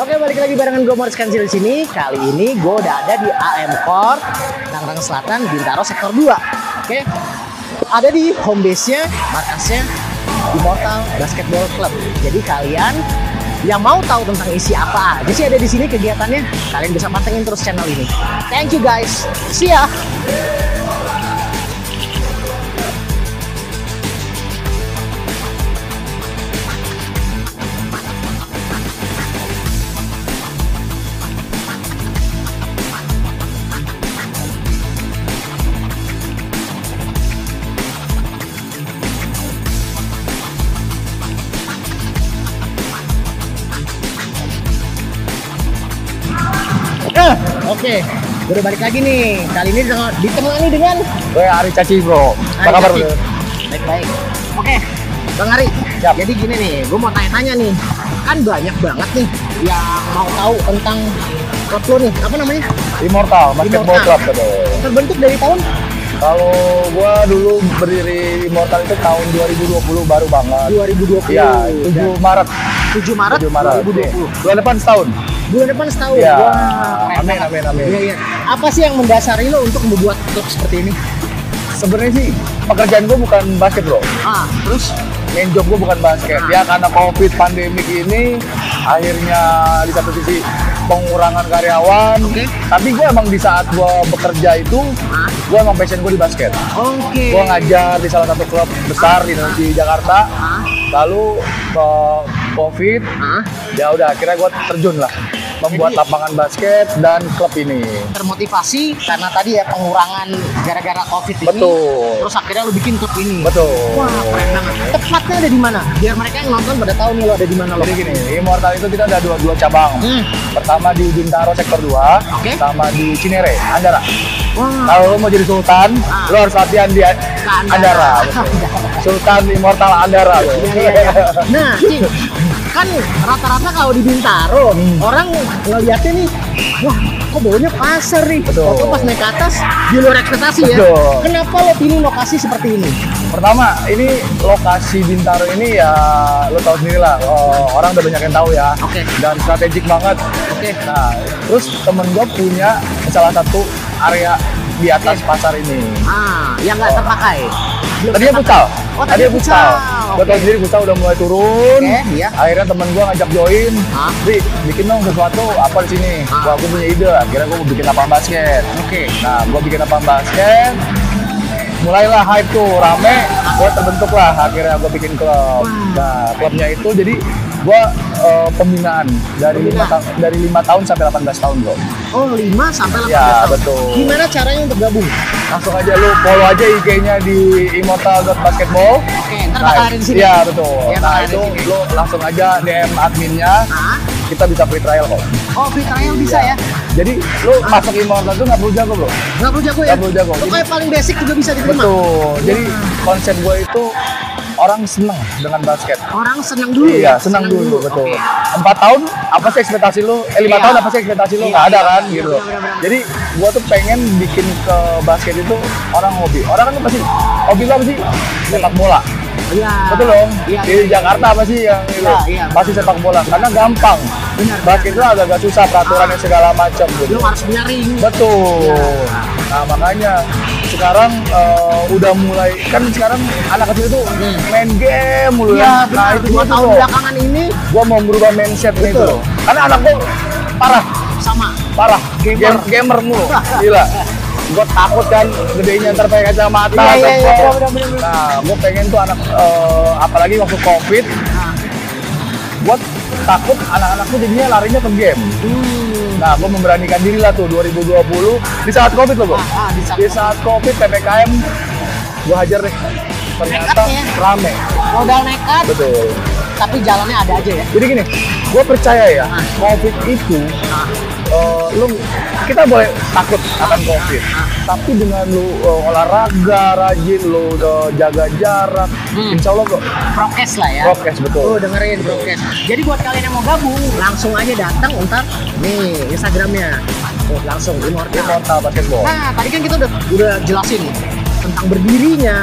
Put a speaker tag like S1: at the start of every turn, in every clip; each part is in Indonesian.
S1: Oke, balik lagi barengan gue Moritz Kansil di sini. Kali ini gue udah ada di AM Court, Tangerang Selatan, Bintaro Sektor 2. Oke, ada di home base-nya, markasnya Immortal Basketball Club. Jadi kalian yang mau tahu tentang isi apa aja sih ada di sini kegiatannya, kalian bisa pantengin terus channel ini. Thank you guys, see ya! Eh, Oke, baru balik lagi nih. Kali ini dengan- ditemani dengan
S2: Gue Ari Caci bro, apa kabar
S1: Ari
S2: bro?
S1: Caci. Baik-baik. Oke, Bang Ari.
S2: Siap.
S1: Jadi gini nih, gue mau tanya-tanya nih. Kan banyak banget nih yang mau tahu tentang klub lo nih. Apa namanya?
S2: Immortal Basketball
S1: Immortal.
S2: Club bro.
S1: Terbentuk dari tahun
S2: Iya, Kalau gue dulu berdiri Immortal itu tahun 2020 baru banget.
S1: 2020.
S2: Iya,
S1: Dan
S2: 7 Maret.
S1: 7 Maret
S2: 7 Maret.
S1: 2020.
S2: Iya. Bulan depan setahun.
S1: Bulan depan setahun.
S2: Iya.
S1: Wah, keren
S2: Amin,
S1: banget.
S2: amin, amin.
S1: Iya, iya. Apa sih yang mendasari lo untuk membuat klub seperti ini?
S2: Sebenarnya sih pekerjaan gue bukan basket bro.
S1: Ah, terus
S2: Main job gue bukan basket.
S1: Nah.
S2: Ya karena covid pandemik ini akhirnya di satu sisi pengurangan karyawan.
S1: Oke. Nah.
S2: Tapi gue emang di saat gue bekerja itu, gue emang passion gue di basket.
S1: Oke.
S2: Gue ngajar di salah satu klub besar di, di Jakarta.
S1: Ah,
S2: lalu eh, covid
S1: ah.
S2: ya udah akhirnya gue terjun lah membuat
S1: Jadi-
S2: lapangan basket dan klub ini
S1: termotivasi karena tadi ya pengurangan gara-gara covid ini
S2: Betul.
S1: terus akhirnya lu bikin klub ini
S2: betul
S1: wah keren banget tepatnya ada di mana biar mereka yang nonton pada tahu nih lo ada di mana lo
S2: jadi gini immortal itu kita ada dua dua cabang
S1: hmm.
S2: pertama di Bintaro sektor 2
S1: Oke.
S2: sama di Cinere Andara
S1: wah
S2: kalau lo mau jadi Sultan
S1: Ah.
S2: lo harus latihan di Andara betul. Sultan Immortal Andara lo.
S1: Iya, iya, iya. nah Cing kan rata-rata kalau di Bintaro
S2: Hmm.
S1: orang ngeliatnya nih wah kok baunya pasar nih
S2: Betul.
S1: Waktu pas naik ke atas di luar ekspektasi ya
S2: Betul.
S1: kenapa lo pilih lokasi seperti ini
S2: Pertama, ini lokasi Bintaro ini ya lo tau sendiri lah, oh, orang udah banyak yang tahu ya.
S1: Oke.
S2: Dan strategik banget.
S1: Oke.
S2: Nah, terus temen gue punya salah satu area di atas pasar ini.
S1: ah yang nggak terpakai Belum
S2: Tadinya
S1: terpakai.
S2: futsal.
S1: Oh,
S2: Tadinya
S1: tadinya
S2: futsal.
S1: futsal.
S2: Gue tau sendiri futsal udah mulai turun.
S1: Oke, iya.
S2: Akhirnya temen gue ngajak join.
S1: Ah.
S2: Ri, bikin dong sesuatu apa di sini.
S1: Ah.
S2: Wah, gue punya ide. Akhirnya gue bikin lapangan basket.
S1: oke
S2: Nah, gue bikin lapangan basket, mulailah hype tuh rame, gue terbentuk lah akhirnya gue bikin klub. Nah, klubnya itu jadi gue eh, pembinaan dari lima
S1: Pembinaan.
S2: ta- dari lima tahun sampai 18 tahun bro.
S1: Oh, 5 sampai 18
S2: Ya,
S1: tahun.
S2: betul.
S1: Gimana caranya untuk gabung?
S2: Langsung aja lu follow aja IG-nya di immortal.basketball.
S1: Oke, ntar
S2: Nah,
S1: bakal ada di sini.
S2: Iya betul.
S1: Ya, bakal
S2: nah
S1: ada
S2: itu
S1: di sini.
S2: lu langsung aja DM adminnya,
S1: Hah?
S2: kita bisa free trial kok.
S1: Ah, Oh, free trial bisa ya?
S2: Iya. Jadi lu masuk immortal tuh nggak perlu jago bro.
S1: Nggak perlu jago ya?
S2: Nggak perlu jago.
S1: Pokoknya paling basic juga bisa diterima.
S2: Betul. Jadi konsep gue itu orang senang dengan basket.
S1: Orang senang dulu ya?
S2: iya, senang dulu, betul.
S1: Oke.
S2: Empat tahun apa sih ekspektasi lu? Eh lima
S1: Iya.
S2: tahun apa sih ekspektasi lu?
S1: Iya,
S2: Nggak ada
S1: iya,
S2: kan
S1: iya,
S2: gitu.
S1: benar, benar, benar.
S2: Jadi gua tuh pengen bikin ke basket itu orang hobi. Orang kan pasti hobi lu apa sih? Sepak bola.
S1: Iya.
S2: Betul dong.
S1: Iya,
S2: Di
S1: iya,
S2: Jakarta apa sih yang itu?
S1: Iya, iya, benar.
S2: pasti sepak bola karena gampang.
S1: Benar, Ah.
S2: Basket itu agak-agak susah peraturannya segala macam gitu.
S1: Lu harus punya ring.
S2: Betul. Nah makanya sekarang eh, udah mulai kan sekarang anak kecil tuh main game mulu
S3: Hmm. Iya,
S2: ya. Nah,
S3: benar.
S2: itu
S3: Dua
S2: gua
S3: tahun
S2: tuh.
S3: belakangan ini
S2: Gua mau merubah mindset nih
S3: Betul.
S2: tuh. Karena anak gua parah,
S3: sama.
S2: parah gamer gamer mulu. Gila. Gua takut kan gedenya ntar pakai kacamata.
S3: Iya, iya,
S2: terus gua-
S3: iya, benar, benar, benar.
S2: Nah, gua pengen tuh anak eh, apalagi waktu Covid,
S3: Nah,
S2: gua takut anak-anak tuh jadinya larinya ke game.
S3: hmm.
S2: Nah, gue memberanikan diri lah tuh 2020 di saat covid loh, Bro.
S3: Ah, ah, di saat
S2: Di saat covid PPKM gue hajar deh. Ternyata
S3: Nekat ya.
S2: rame.
S3: Modal nekat,
S2: Betul.
S3: tapi jalannya ada aja ya.
S2: Jadi gini, gue percaya ya,
S3: Ah.
S2: covid itu
S3: Nah,
S2: eh, lu kita boleh takut akan
S3: Ah.
S2: covid, tapi dengan lu eh, olahraga rajin, lu eh, jaga jarak,
S3: Hmm.
S2: insya Allah kok
S3: prokes lah ya.
S2: prokes
S3: Oh,
S2: betul.
S3: dengerin broadcast. Jadi buat kalian yang mau gabung, langsung aja datang ntar nih Instagramnya. Oh, langsung
S2: Ini
S3: immortal.
S2: kota basketball.
S3: Nah, tadi kan kita udah, udah jelasin tentang berdirinya,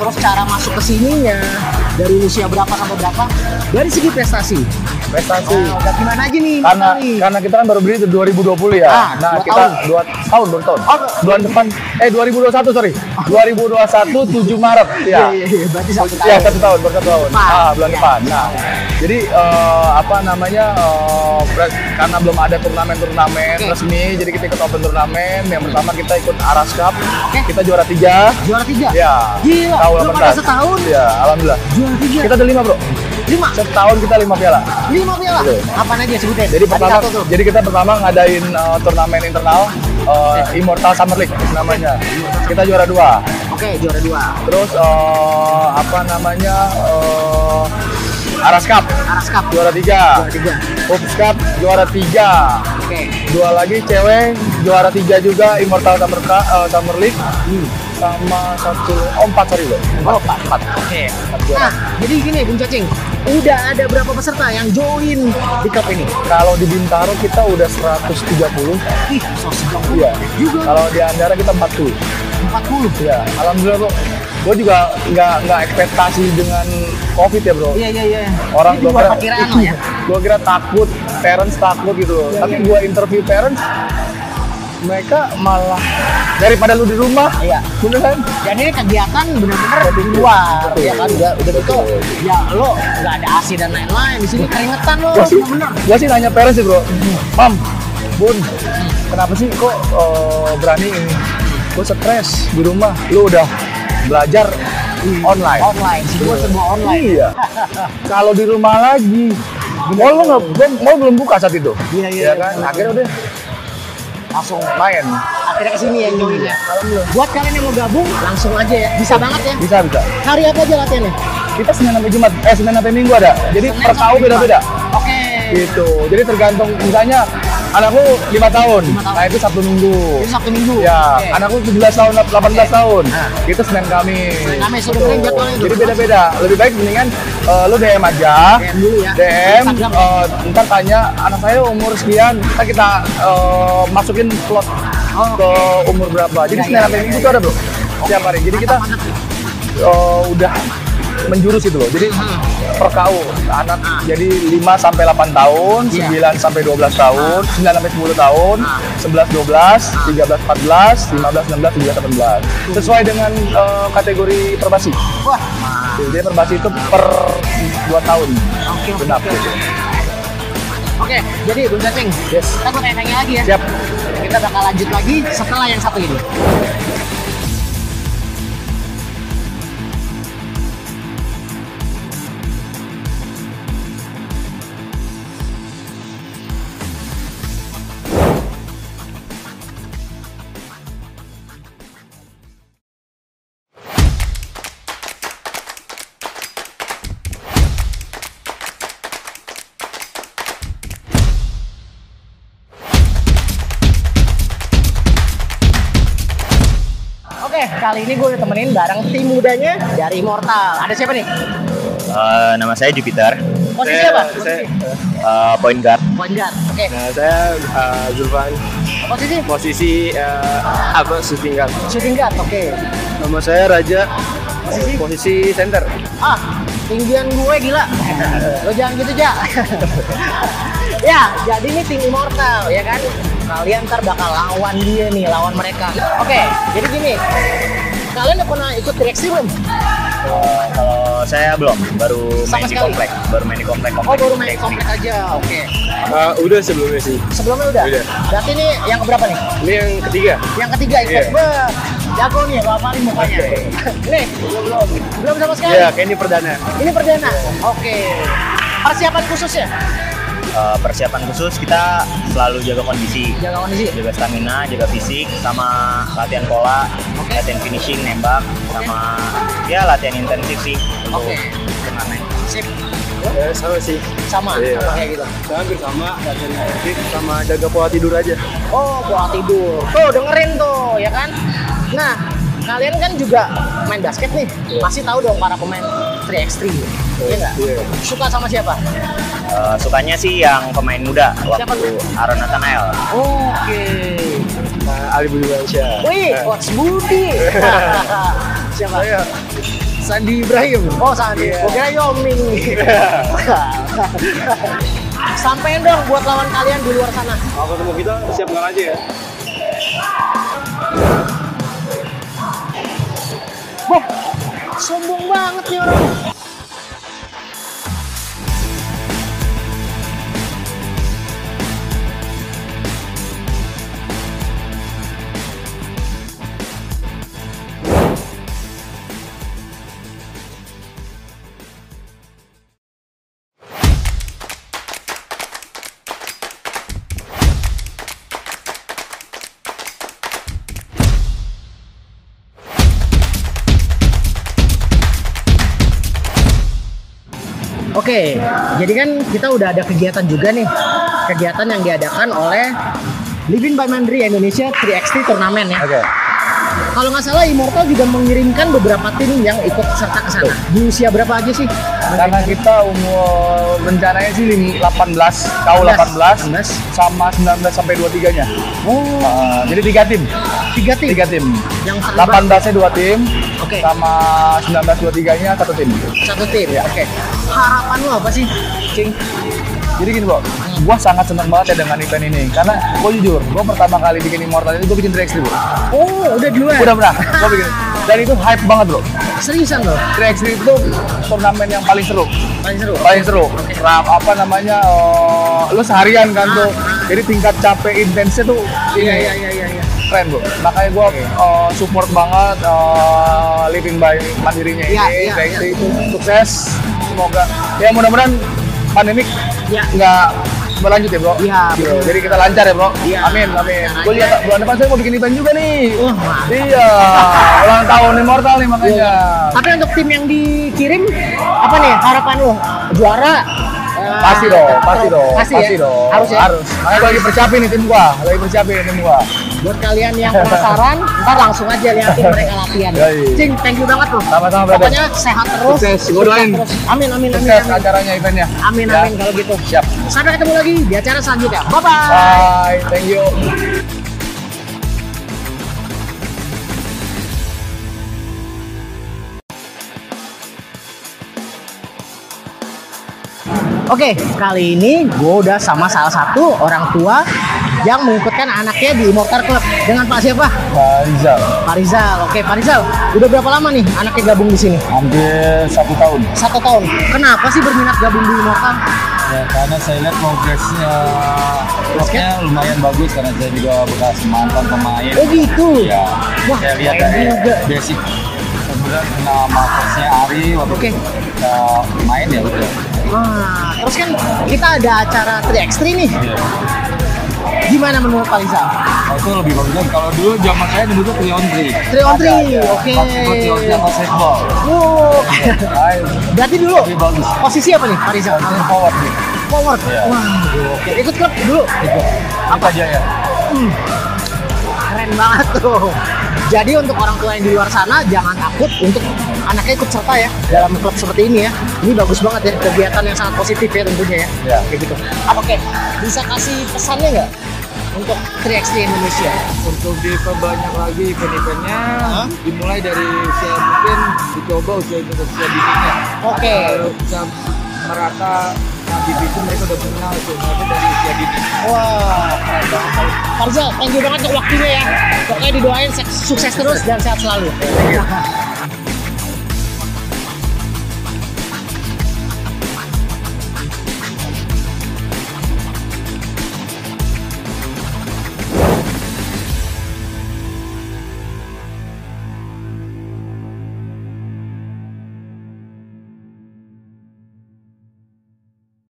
S3: terus cara masuk ke sininya, dari usia berapa sampai berapa, dari segi prestasi.
S2: Prestasi.
S3: Nah, udah gimana aja nih?
S2: karena
S3: nih?
S2: karena kita kan baru beli itu 2020 ya.
S3: Ah,
S2: nah,
S3: dua
S2: kita
S3: tahun. Oh,
S2: dua tahun dua tahun. bulan depan eh 2021 sorry. 2021 7 Maret ya.
S3: Iya, iya, iya, berarti satu
S2: Ya
S3: tahun.
S2: satu tahun, baru satu tahun.
S3: Depan.
S2: Ah, bulan
S3: Ya.
S2: depan. Nah, jadi eh, apa namanya eh, pres- karena belum ada turnamen-turnamen
S3: Oke.
S2: resmi, jadi kita ikut open turnamen. Yang pertama kita ikut Aras Cup,
S3: Oke.
S2: kita juara tiga.
S3: Juara tiga?
S2: Ya,
S3: Gila,
S2: tahun
S3: belum ada
S2: 18.
S3: setahun,
S2: Ya, alhamdulillah.
S3: juara tiga.
S2: Kita ada lima bro.
S3: lima,
S2: Setahun kita lima piala.
S3: lima piala.
S2: Betul.
S3: Apaan aja sebutin?
S2: Iya. Jadi
S3: Tadi
S2: pertama,
S3: satu tuh.
S2: jadi kita pertama ngadain uh, turnamen internal
S3: Iya.
S2: uh, Immortal Summer League namanya. Kita juara dua.
S3: Oke, juara dua.
S2: Terus uh, apa namanya uh, Aras Cup
S3: Aras Cup
S2: juara tiga.
S3: juara tiga.
S2: Hoops Cup juara tiga.
S3: Oke.
S2: Dua lagi cewek juara tiga juga Immortal Summer, Cup- uh, Summer League
S3: Hmm.
S2: sama satu oh, empat sorry loh.
S3: Oh, empat, empat. Oke.
S2: Empat juara.
S3: Nah, jadi gini Bung Cacing, udah ada berapa peserta yang join di cup ini?
S2: Kalau di Bintaro kita udah 130.
S3: Ih, so sedang
S2: Iya.
S3: juga
S2: Kalau di Andara kita 40.
S3: 40.
S2: Ya, alhamdulillah bro. Gue juga nggak nggak ekspektasi dengan covid ya bro.
S3: Iya, iya, iya.
S2: Orang
S3: Ini di
S2: gue
S3: luar
S2: kira,
S3: perkiraan lah ya.
S2: gua kira takut, parents takut gitu loh.
S3: Iya,
S2: Tapi
S3: iya.
S2: gue interview parents, mereka malah daripada lu di rumah,
S3: Iya.
S2: bener kan?
S3: Dan ini kegiatan benar-benar di
S2: Betul.
S3: luar,
S2: Betul. Iya,
S3: ya kan? Udah, udah gitu,
S2: Betul.
S3: ya lo nggak ada AC dan lain-lain. Di sini keringetan lo,
S2: Gue Iya sih,
S3: Iya, bener.
S2: gua sih nanya parents sih bro, mam, bun, kenapa sih kok eh, berani ini? Gue stres di rumah, lu udah belajar
S3: Iya.
S2: online.
S3: Online, semua semua online.
S2: Iya. Kalau di rumah lagi, mall lo nggak, belum- mall belum buka saat itu.
S3: Iya, iya,
S2: Ya kan?
S3: iya.
S2: Akhirnya udah
S3: Langsung
S2: main.
S3: akhirnya kesini ya join ya.
S2: Iya. Alhamdulillah.
S3: Buat kalian yang mau gabung, langsung aja ya. Bisa banget ya.
S2: Bisa bisa.
S3: Hari apa aja latihannya?
S2: Kita Senin sampai Jumat, eh Senin sampai Minggu ada. Jadi
S3: Senin
S2: per
S3: sampai
S2: tahun
S3: Jumat.
S2: beda-beda.
S3: Oke.
S2: Gitu. Jadi tergantung misalnya anakku 5 tahun,
S3: Lima tahun.
S2: nah itu Sabtu Minggu.
S3: Jadi Sabtu Minggu.
S2: Ya,
S3: Oke.
S2: anakku 17 tahun, 18 tahun.
S3: Nah.
S2: Itu Senin Kamis.
S3: Senin Kamis, udah
S2: Betul.
S3: benerin jadwalnya itu.
S2: Jadi beda-beda. Lebih baik mendingan eh, lu DM aja.
S3: DM dulu ya.
S2: DM,
S3: Instagram.
S2: eh, ntar tanya anak saya umur sekian, ntar kita eh, masukin slot
S3: Oh,
S2: ke umur berapa. Jadi
S3: Iya,
S2: Senin
S3: iya,
S2: sampai
S3: iya,
S2: Minggu itu ada bro, setiap hari. Jadi kita
S3: Mantap, mantap.
S2: eh, udah menjurus itu loh. Jadi
S3: Hmm.
S2: per KU anak
S3: Ah.
S2: jadi 5 sampai 8 tahun,
S3: Iya.
S2: 9 sampai 12 tahun, 9 sampai 10 tahun,
S3: Ah.
S2: 11 12, 13 14, 15 16 17 18. Sesuai dengan eh, kategori perbasi.
S3: Wah, mantap.
S2: Jadi perbasi itu per 2 tahun.
S3: Ah. Oke, oke,
S2: Genap
S3: oke.
S2: gitu.
S3: Oke, jadi Bung Cacing,
S2: Yes.
S3: kita mau tanya lagi ya.
S2: Siap.
S3: Kita bakal lanjut lagi setelah yang satu ini. Oke, kali ini gue ditemenin bareng tim mudanya dari Immortal. Ada siapa nih?
S4: Eh, nama saya Jupiter,
S3: Posisi
S2: Saya-
S3: apa?
S2: Saya,
S3: Posisi.
S4: eh, point guard.
S3: Point guard. Oke,
S2: nah, saya eh, Zulfan,
S3: posisi
S2: posisi eh, apa shooting guard.
S3: shooting guard. Oke.
S2: Nama saya Raja,
S3: Posisi?
S2: posisi center.
S3: Ah, tinggian gue gila. Lo jangan gitu, Ja. ya, jadi ini tim Immortal, ya kan? kalian ntar bakal lawan dia nih lawan mereka oke jadi gini kalian udah pernah ikut direksi belum
S5: Eh, kalau saya belum, baru
S3: Sama
S5: main di
S3: sekali.
S5: komplek, baru main di komplek.
S3: oh
S5: komplek.
S3: baru main komplek aja oke
S6: Eh, udah sebelumnya sih.
S3: sebelumnya udah
S6: Udah.
S3: berarti ini yang keberapa nih
S6: Ini yang ketiga.
S3: yang ketiga ikut
S6: Iya.
S3: Wah, jago nih bapak ini mukanya nih belum belum sama sekali
S6: Iya, kayak ini perdana.
S3: ini perdana oke persiapan ya? khususnya
S5: Eh, persiapan khusus kita selalu jaga kondisi,
S3: jaga kondisi
S5: jaga stamina, jaga fisik, sama latihan pola, latihan finishing, nembak, sama ya latihan intensif sih untuk
S3: Oke.
S5: turnamen.
S3: sip
S6: Ya, sama sih.
S3: sama
S6: Iya.
S3: sama kayak gitu
S6: Saya hampir sama, latihan aktif sama jaga pola tidur aja.
S3: Oh, pola tidur. Tuh, dengerin tuh, ya kan? Nah, kalian kan juga main basket nih. Pasti tahu dong para pemain 3x3. Iya nggak?
S6: Iya.
S3: Suka sama siapa?
S5: Eh, sukanya sih yang pemain muda
S3: Siapa
S5: waktu Aaron Nathanael.
S3: Oke.
S6: Nah, Ali Budi Mansyah.
S3: Wih,
S6: Nah,
S3: Coach Budi. siapa?
S6: Saya Sandi Ibrahim.
S3: Oh, Sandi.
S6: Iya.
S3: Gua kira Yoming. Sampein dong buat lawan kalian di luar sana.
S6: Kalau ketemu kita siap ngalah aja ya.
S3: Wah, sombong banget nih orang. Oke, jadi kan kita udah ada kegiatan juga nih. Kegiatan yang diadakan oleh Living by Mandiri Indonesia 3XT Turnamen ya.
S2: Oke.
S3: Kalau nggak salah Immortal juga mengirimkan beberapa tim yang ikut serta ke sana. Di usia berapa aja sih?
S2: Karena kita umur rencananya sih lim- 18, KU 18,
S3: 18.
S2: sama 19 sampai 23-nya.
S3: Oh,
S2: Uh, jadi tiga tim,
S3: tiga tim.
S2: tiga tim.
S3: Yang terlibat.
S2: 18-nya dua tim,
S3: Oke.
S2: sama 19-23-nya satu tim.
S3: Satu tim.
S2: Iya.
S3: Oke. Harapan lo apa sih, Cing?
S2: Jadi gini bro, gua sangat senang banget ya dengan event ini karena gua jujur, gua pertama kali bikin Immortal itu gua bikin 3x3 bro.
S3: Oh, udah duluan.
S2: Udah pernah, gua bikin. Dan itu hype banget bro.
S3: Seriusan lo?
S2: 3x3 itu turnamen yang paling seru,
S3: Paling seru.
S2: paling seru. Ram- apa namanya? eh, lu seharian kan tuh. Jadi tingkat capek intensnya tuh
S3: Iya,
S2: ini
S3: iya, iya, iya. iya.
S2: keren bro. Makanya gua eh, support banget eh, living by mandirinya
S3: Iya,
S2: ini.
S3: iya,
S2: 3x3 itu sukses. Semoga ya mudah-mudahan pandemik
S3: Iya.
S2: nggak berlanjut ya bro.
S3: Iya,
S2: Gitu.
S3: betul.
S2: Jadi kita lancar ya bro.
S3: Iya.
S2: Amin amin. Gue juga tak- bulan depan saya mau bikin event juga nih.
S3: Wah, mantap. Iya.
S2: Iya. Ulang tahun immortal nih makanya.
S3: Tapi untuk tim yang dikirim apa nih harapan lo? Juara? Eh,
S2: Pasti dong, pasti dong,
S3: Pasti, ya?
S2: dong.
S3: Harus ya.
S2: Harus. Makanya gue lagi persiapin nih tim gua, lagi persiapin tim gua.
S3: Buat kalian yang penasaran, ntar langsung aja liatin mereka latihan.
S2: Yoi.
S3: Cing, thank you banget loh.
S2: Sama-sama, brother.
S3: Pokoknya sehat terus.
S2: Sukses, gua doain.
S3: terus. Amin, amin, amin.
S2: Sukses
S3: Amin,
S2: acaranya eventnya.
S3: amin,
S2: Ya.
S3: amin kalau gitu.
S2: Siap.
S3: Sampai ketemu lagi di acara selanjutnya. Bye bye.
S2: Bye, thank you.
S3: Oke, kali ini gue udah sama salah satu orang tua yang mengikutkan anaknya di Immortal Club dengan Pak siapa?
S2: Bye, Rizal.
S3: Pak Rizal. Oke, Pak Rizal, udah berapa lama nih anaknya gabung di sini?
S2: Hampir satu tahun.
S3: Satu tahun. Kenapa sih berminat gabung di Immortal?
S2: Ya, karena saya lihat progresnya progresnya lumayan bagus karena saya juga bekas mantan pemain.
S3: Oh gitu.
S2: Ya,
S3: Wah,
S2: saya lihat
S3: keren
S2: dari
S3: juga.
S2: basic sebenarnya nama coachnya Ari waktu
S3: Oke.
S2: itu kita main ya udah.
S3: Wah, terus kan kita ada acara 3x3 nih.
S2: Iya.
S3: Gimana menurut Pak Rizal?
S2: Nah, itu lebih bagus kalau dulu zaman saya dulu tuh three on three.
S3: 3 on 3.
S2: Ada,
S3: Oke.
S2: ya. waktu itu three on three sama softball.
S3: Wow. Berarti dulu
S2: Lebih bagus.
S3: posisi apa nih Pak Rizal?
S2: Ini forward nih.
S3: Forward.
S2: Iya.
S3: Wah, oke. Ikut klub dulu.
S2: Itu. Apa aja ya?
S3: Keren banget tuh. Jadi untuk orang tua yang di luar sana jangan takut untuk anaknya ikut serta ya dalam klub seperti ini ya. Ini bagus banget ya kegiatan yang sangat positif ya tentunya ya.
S2: Ya.
S3: kayak gitu. Apa kayak bisa kasih pesannya nggak untuk 3x3 Indonesia?
S7: untuk diperbanyak lagi event-eventnya
S3: Hah?
S7: dimulai dari usia mungkin dicoba usia usia dinginnya
S3: Oke.
S7: kalau bisa merata sampai
S2: division mereka udah kenal tuh mereka dari usia dini
S3: Wah, keren banget. Farzal, thank you banget untuk waktunya ya. Pokoknya didoain sukses terus dan sehat selalu.